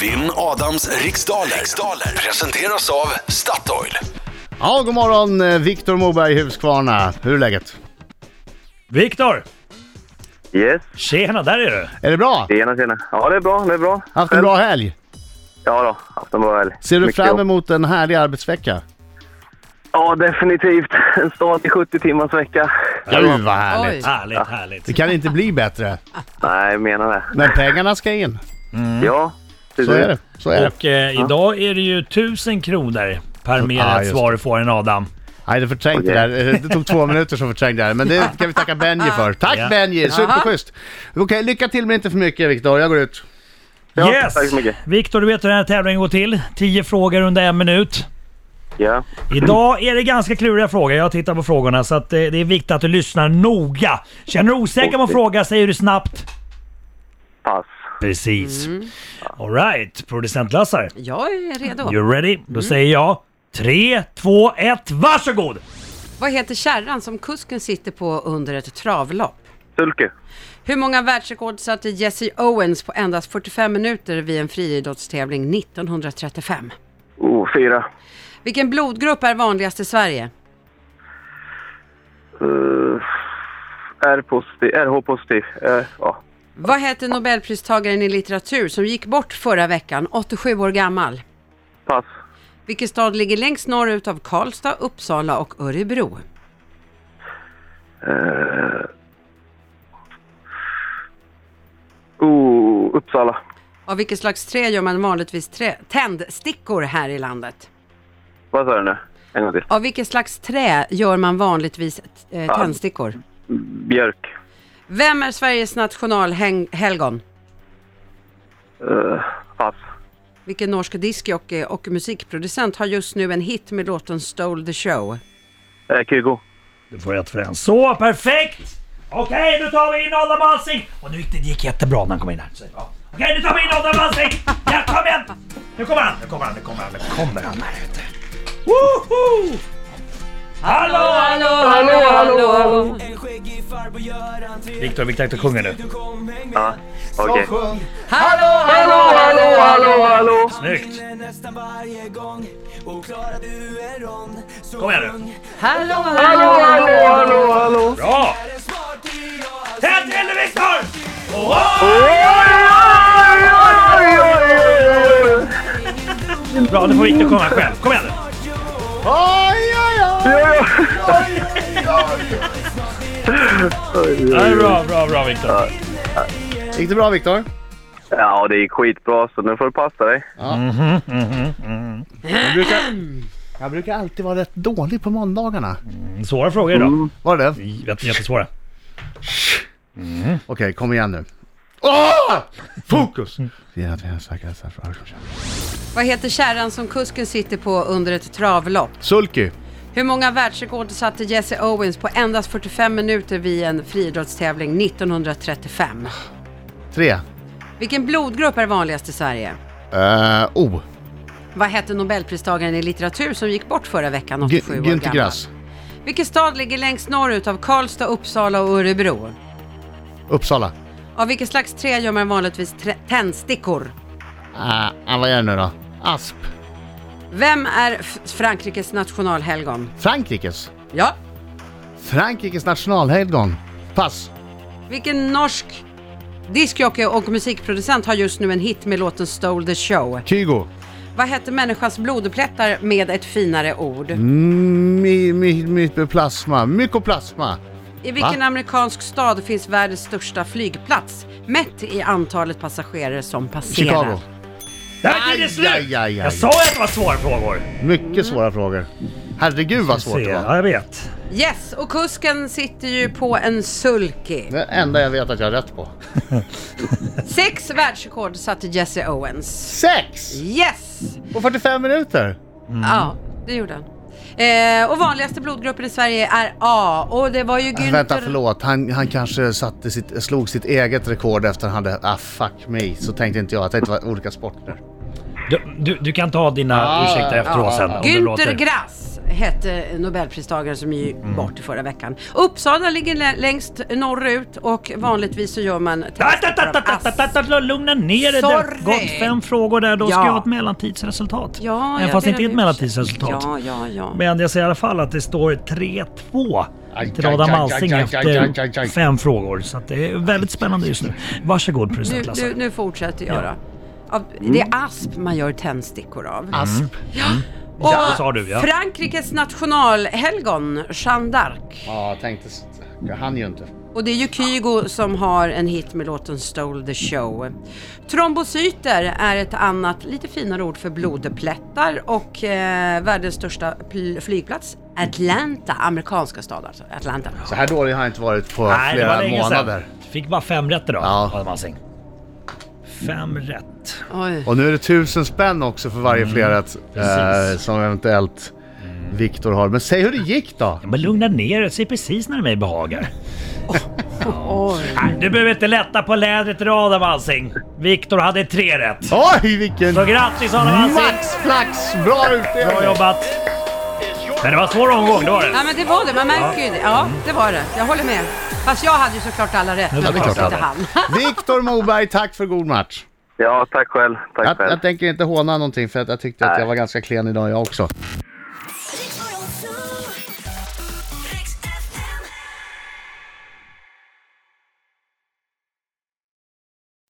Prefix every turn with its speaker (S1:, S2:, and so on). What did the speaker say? S1: Vinn Adams riksdaler. riksdaler presenteras av Statoil.
S2: Ja, god morgon eh, Viktor Moberg i Huskvarna. Hur är läget?
S3: Viktor!
S4: Yes,
S3: Tjena, där är du!
S2: Är det bra?
S4: tjena tjena. Ja, det är bra, det är bra.
S2: Haft en
S4: Själv?
S2: bra helg?
S4: Ja då, haft en bra helg.
S2: Ser du
S4: Mycket
S2: fram
S4: jobb.
S2: emot en härlig arbetsvecka?
S4: Ja, definitivt. En start i 70 timmars vecka.
S2: Gud vad härligt!
S5: Oj.
S3: Härligt, härligt.
S2: Det kan inte bli bättre.
S4: Nej, jag menar det.
S2: Men pengarna ska in.
S4: Ja,
S2: Mm. Så är det. Så är det.
S3: Och eh, idag är det ju 1000 kronor per mer
S2: Ah,
S3: rätt
S2: just
S3: svar får en Adam.
S2: Nej, det förträngde det där. Eh, Det tog två minuter som förträngde det här. Men det kan vi tacka Benji för. Tack
S3: Ja.
S2: Benji! Superschysst! Okej, lycka till men inte för mycket Viktor. Jag går ut.
S4: Ja,
S3: yes!
S4: tack så mycket.
S3: Viktor, du vet hur den här tävlingen går till. 10 frågor under en minut.
S4: Ja,
S3: Idag är det ganska kluriga frågor. Jag tittar på frågorna så att eh, det är viktigt att du lyssnar noga. Känner du osäker på en fråga säger du snabbt.
S4: pass.
S3: Precis.
S4: Mm.
S3: Alright, producent Lassar.
S5: Jag är redo.
S3: You ready?
S4: Mm.
S3: Då säger jag 3, 2, 1, varsågod!
S5: Vad heter kärran som kusken sitter på under ett travlopp?
S4: Sulke.
S5: Hur många världsrekord satte Jesse Owens på endast 45 minuter vid en friidrottstävling 1935?
S4: Oh, fyra.
S5: Vilken blodgrupp är vanligast i Sverige?
S4: Uh, R-positiv. RH-positiv. Eh, ja.
S5: Vad heter Nobelpristagaren i litteratur som gick bort förra veckan, 87 år gammal?
S4: Pass.
S5: Vilken stad ligger längst norrut av Karlstad, Uppsala och Örebro?
S4: Uh, oh, Uppsala.
S5: Av vilket slags trä gör man vanligtvis trä- tändstickor här i landet?
S4: Vad sa du nu? En gång till.
S5: Av vilket slags trä gör man vanligtvis eh, tändstickor?
S4: Björk.
S5: Vem är Sveriges nationalhelgon?
S4: Eh, pass.
S5: Vilken norsk discjockey och musikproducent har just nu en hit med låten Stole the Show?
S4: Uh, Kygo.
S3: Du får rätt för den. Så, perfekt! Okej, nu tar vi in Adam Alsing! Och nu gick det, det gick jättebra när han kom in här. Så, ja. Okej, nu tar vi in Adam Alsing! Ja, kom igen! Nu kommer han, nu kommer han, nu kommer han, nu kommer han här ute. Woho! Hallå, hallå!
S5: hallå, hallå, hallå!
S3: Viktor, vi kan inte sjunga nu.
S4: Ja, okej.
S5: hallå, hallå,
S4: Hallå!
S3: Snyggt!
S6: nästan varje gång Och klarar du en rond så
S3: Kom igen nu.
S5: hallå, hallå, hallå,
S4: Hallå, hallå!
S3: Bra!
S6: snart är jag
S3: Tänd till nu Viktor! Bra, nu får Viktor komma själv. Kom igen nu. Ja, det är bra, bra, bra Viktor.
S2: Gick det bra Viktor?
S4: Ja, det gick skitbra så nu får du passa dig.
S2: Jag brukar alltid vara rätt dålig på måndagarna.
S3: Mm, Svåra frågor idag.
S2: Var det det?
S3: Jätte- Jättesvåra.
S2: Okej, kom igen nu. Åh! Fokus! Ja, det är säkert så här.
S5: Vad heter kärran som kusken sitter på under ett travlopp?
S2: Sulky.
S5: Hur många världsrekord satte Jesse Owens på endast 45 minuter vid en friidrottstävling 1935?
S2: Tre.
S5: Vilken blodgrupp är vanligast i Sverige?
S2: Uh, o.
S5: Vad hette Nobelpristagaren i litteratur som gick bort förra veckan, 87 år
S2: Günter
S5: gammal?
S2: Grass.
S5: Vilken stad ligger längst norrut av Karlstad, Uppsala och Örebro?
S2: Uppsala.
S5: Av vilket slags trä gör man vanligtvis trä- tändstickor?
S2: Ah, ah, vad är det nu då? Asp.
S5: Vem är F- Frankrikes nationalhelgon?
S2: Frankrikes.
S5: Ja.
S2: Frankrikes nationalhelgon. Pass.
S5: Vilken norsk discjockey och musikproducent har just nu en hit med låten Stole the Show?
S2: Kygo.
S5: Vad hette människans blodplättar med ett finare ord?
S2: Mm, My, my, mytoplasma. Mykoplasma.
S5: I vilken amerikansk stad finns världens största flygplats mätt i antalet passagerare som passerar?
S2: Chicago.
S3: Där är det
S2: Aj,
S3: slut!
S2: aj, aj, aj.
S3: Jag sa ju att det var svåra frågor.
S2: Mycket svåra frågor. Herregud vad svårt det var.
S3: Ja, jag vet.
S5: Yes, och kusken sitter ju på en sulky.
S2: Det enda jag vet att jag har rätt på.
S5: Sex världsrekord satte Jesse Owens.
S2: Sex!
S5: Yes!
S2: På 45 minuter.
S3: Mm.
S5: Ja, det gjorde han. Eh, och vanligaste blodgruppen i Sverige är A och det var ju Günther...
S2: Vänta, förlåt. Han, han kanske satte sitt, slog sitt eget rekord efter han hade... Ah, fuck me. Så tänkte inte jag att det var olika sporter.
S3: Du, du, du kan ta dina
S2: Ja,
S3: ursäkter efteråt
S2: ja,
S3: sen.
S2: ja.
S3: om du låter. Mm.
S5: Günther Grass hette Nobelpristagaren som gick bort i förra veckan. Uppsala ligger lä- längst norrut och vanligtvis så gör man
S3: Ta,
S5: test
S3: ta, ta, ta, ta, ta, ta, ta, Lugna ner dig. Det
S5: Sorry.
S3: har gått fem frågor där. Då ska
S5: Ja.
S3: jag ha ett mellantidsresultat.
S5: Ja,
S3: Även
S5: jag
S3: fast det
S5: ber
S3: inte är
S5: om
S3: ett
S5: ursäkt.
S3: mellantidsresultat.
S5: Ja, ja, ja.
S3: Men jag säger i alla fall att det står 3-2 till Adam Alsing efter fem frågor. Så att det är väldigt spännande just nu. Varsågod
S5: Nu,
S3: producent Lasse.
S5: nu, nu fortsätter jag då. Av,
S3: Mm.
S5: det är asp man gör tändstickor av.
S2: Asp.
S5: Och
S3: Ja, det sa du, ja.
S5: Frankrikes nationalhelgon, Jeanne d'Arc.
S2: Ja, jag tänkte... s- Jag hann ju inte.
S5: Och det är ju Kygo som har en hit med låten Stole the Show. Trombocyter är ett annat, lite finare ord för blodplättar och eh, världens största pl- flygplats, Atlanta, amerikanska stad alltså, Atlanta.
S2: Så här dålig har jag inte varit på
S3: Nej, det var
S2: flera
S3: länge
S2: månader.
S3: sedan. Fick bara fem rätt idag,
S2: Ja. Mm.
S3: Adam Alsing. Fem rätt.
S5: Oj.
S2: Och nu är det tusen spänn också för varje flerrätt eh,
S3: Mm, precis. Mm.
S2: som eventuellt Viktor har. Men säg hur det gick då!
S3: Men lugna ner dig, säg precis när det mig behagar.
S5: Oj.
S3: Nej, Du behöver inte lätta på lädret idag Adam Alsing. Viktor hade tre rätt.
S2: Oj, vilken
S3: Så grattis Adam Alsing!
S2: maxflax! Bra
S3: Bra
S2: utdelning!
S3: jobbat! Men det var en svår omgång, det var det.
S5: Ja men det var det, man märker ju det. Ja, det var det. Jag håller med. Fast jag hade ju såklart alla rätt, men
S3: det är klart
S5: inte
S3: du hade.
S5: han.
S2: Viktor Moberg, tack för god match!
S4: Ja, tack själv. Tack
S2: Jag,
S4: själv.
S2: jag tänker inte håna någonting för att jag tyckte att jag var ganska klen idag jag också.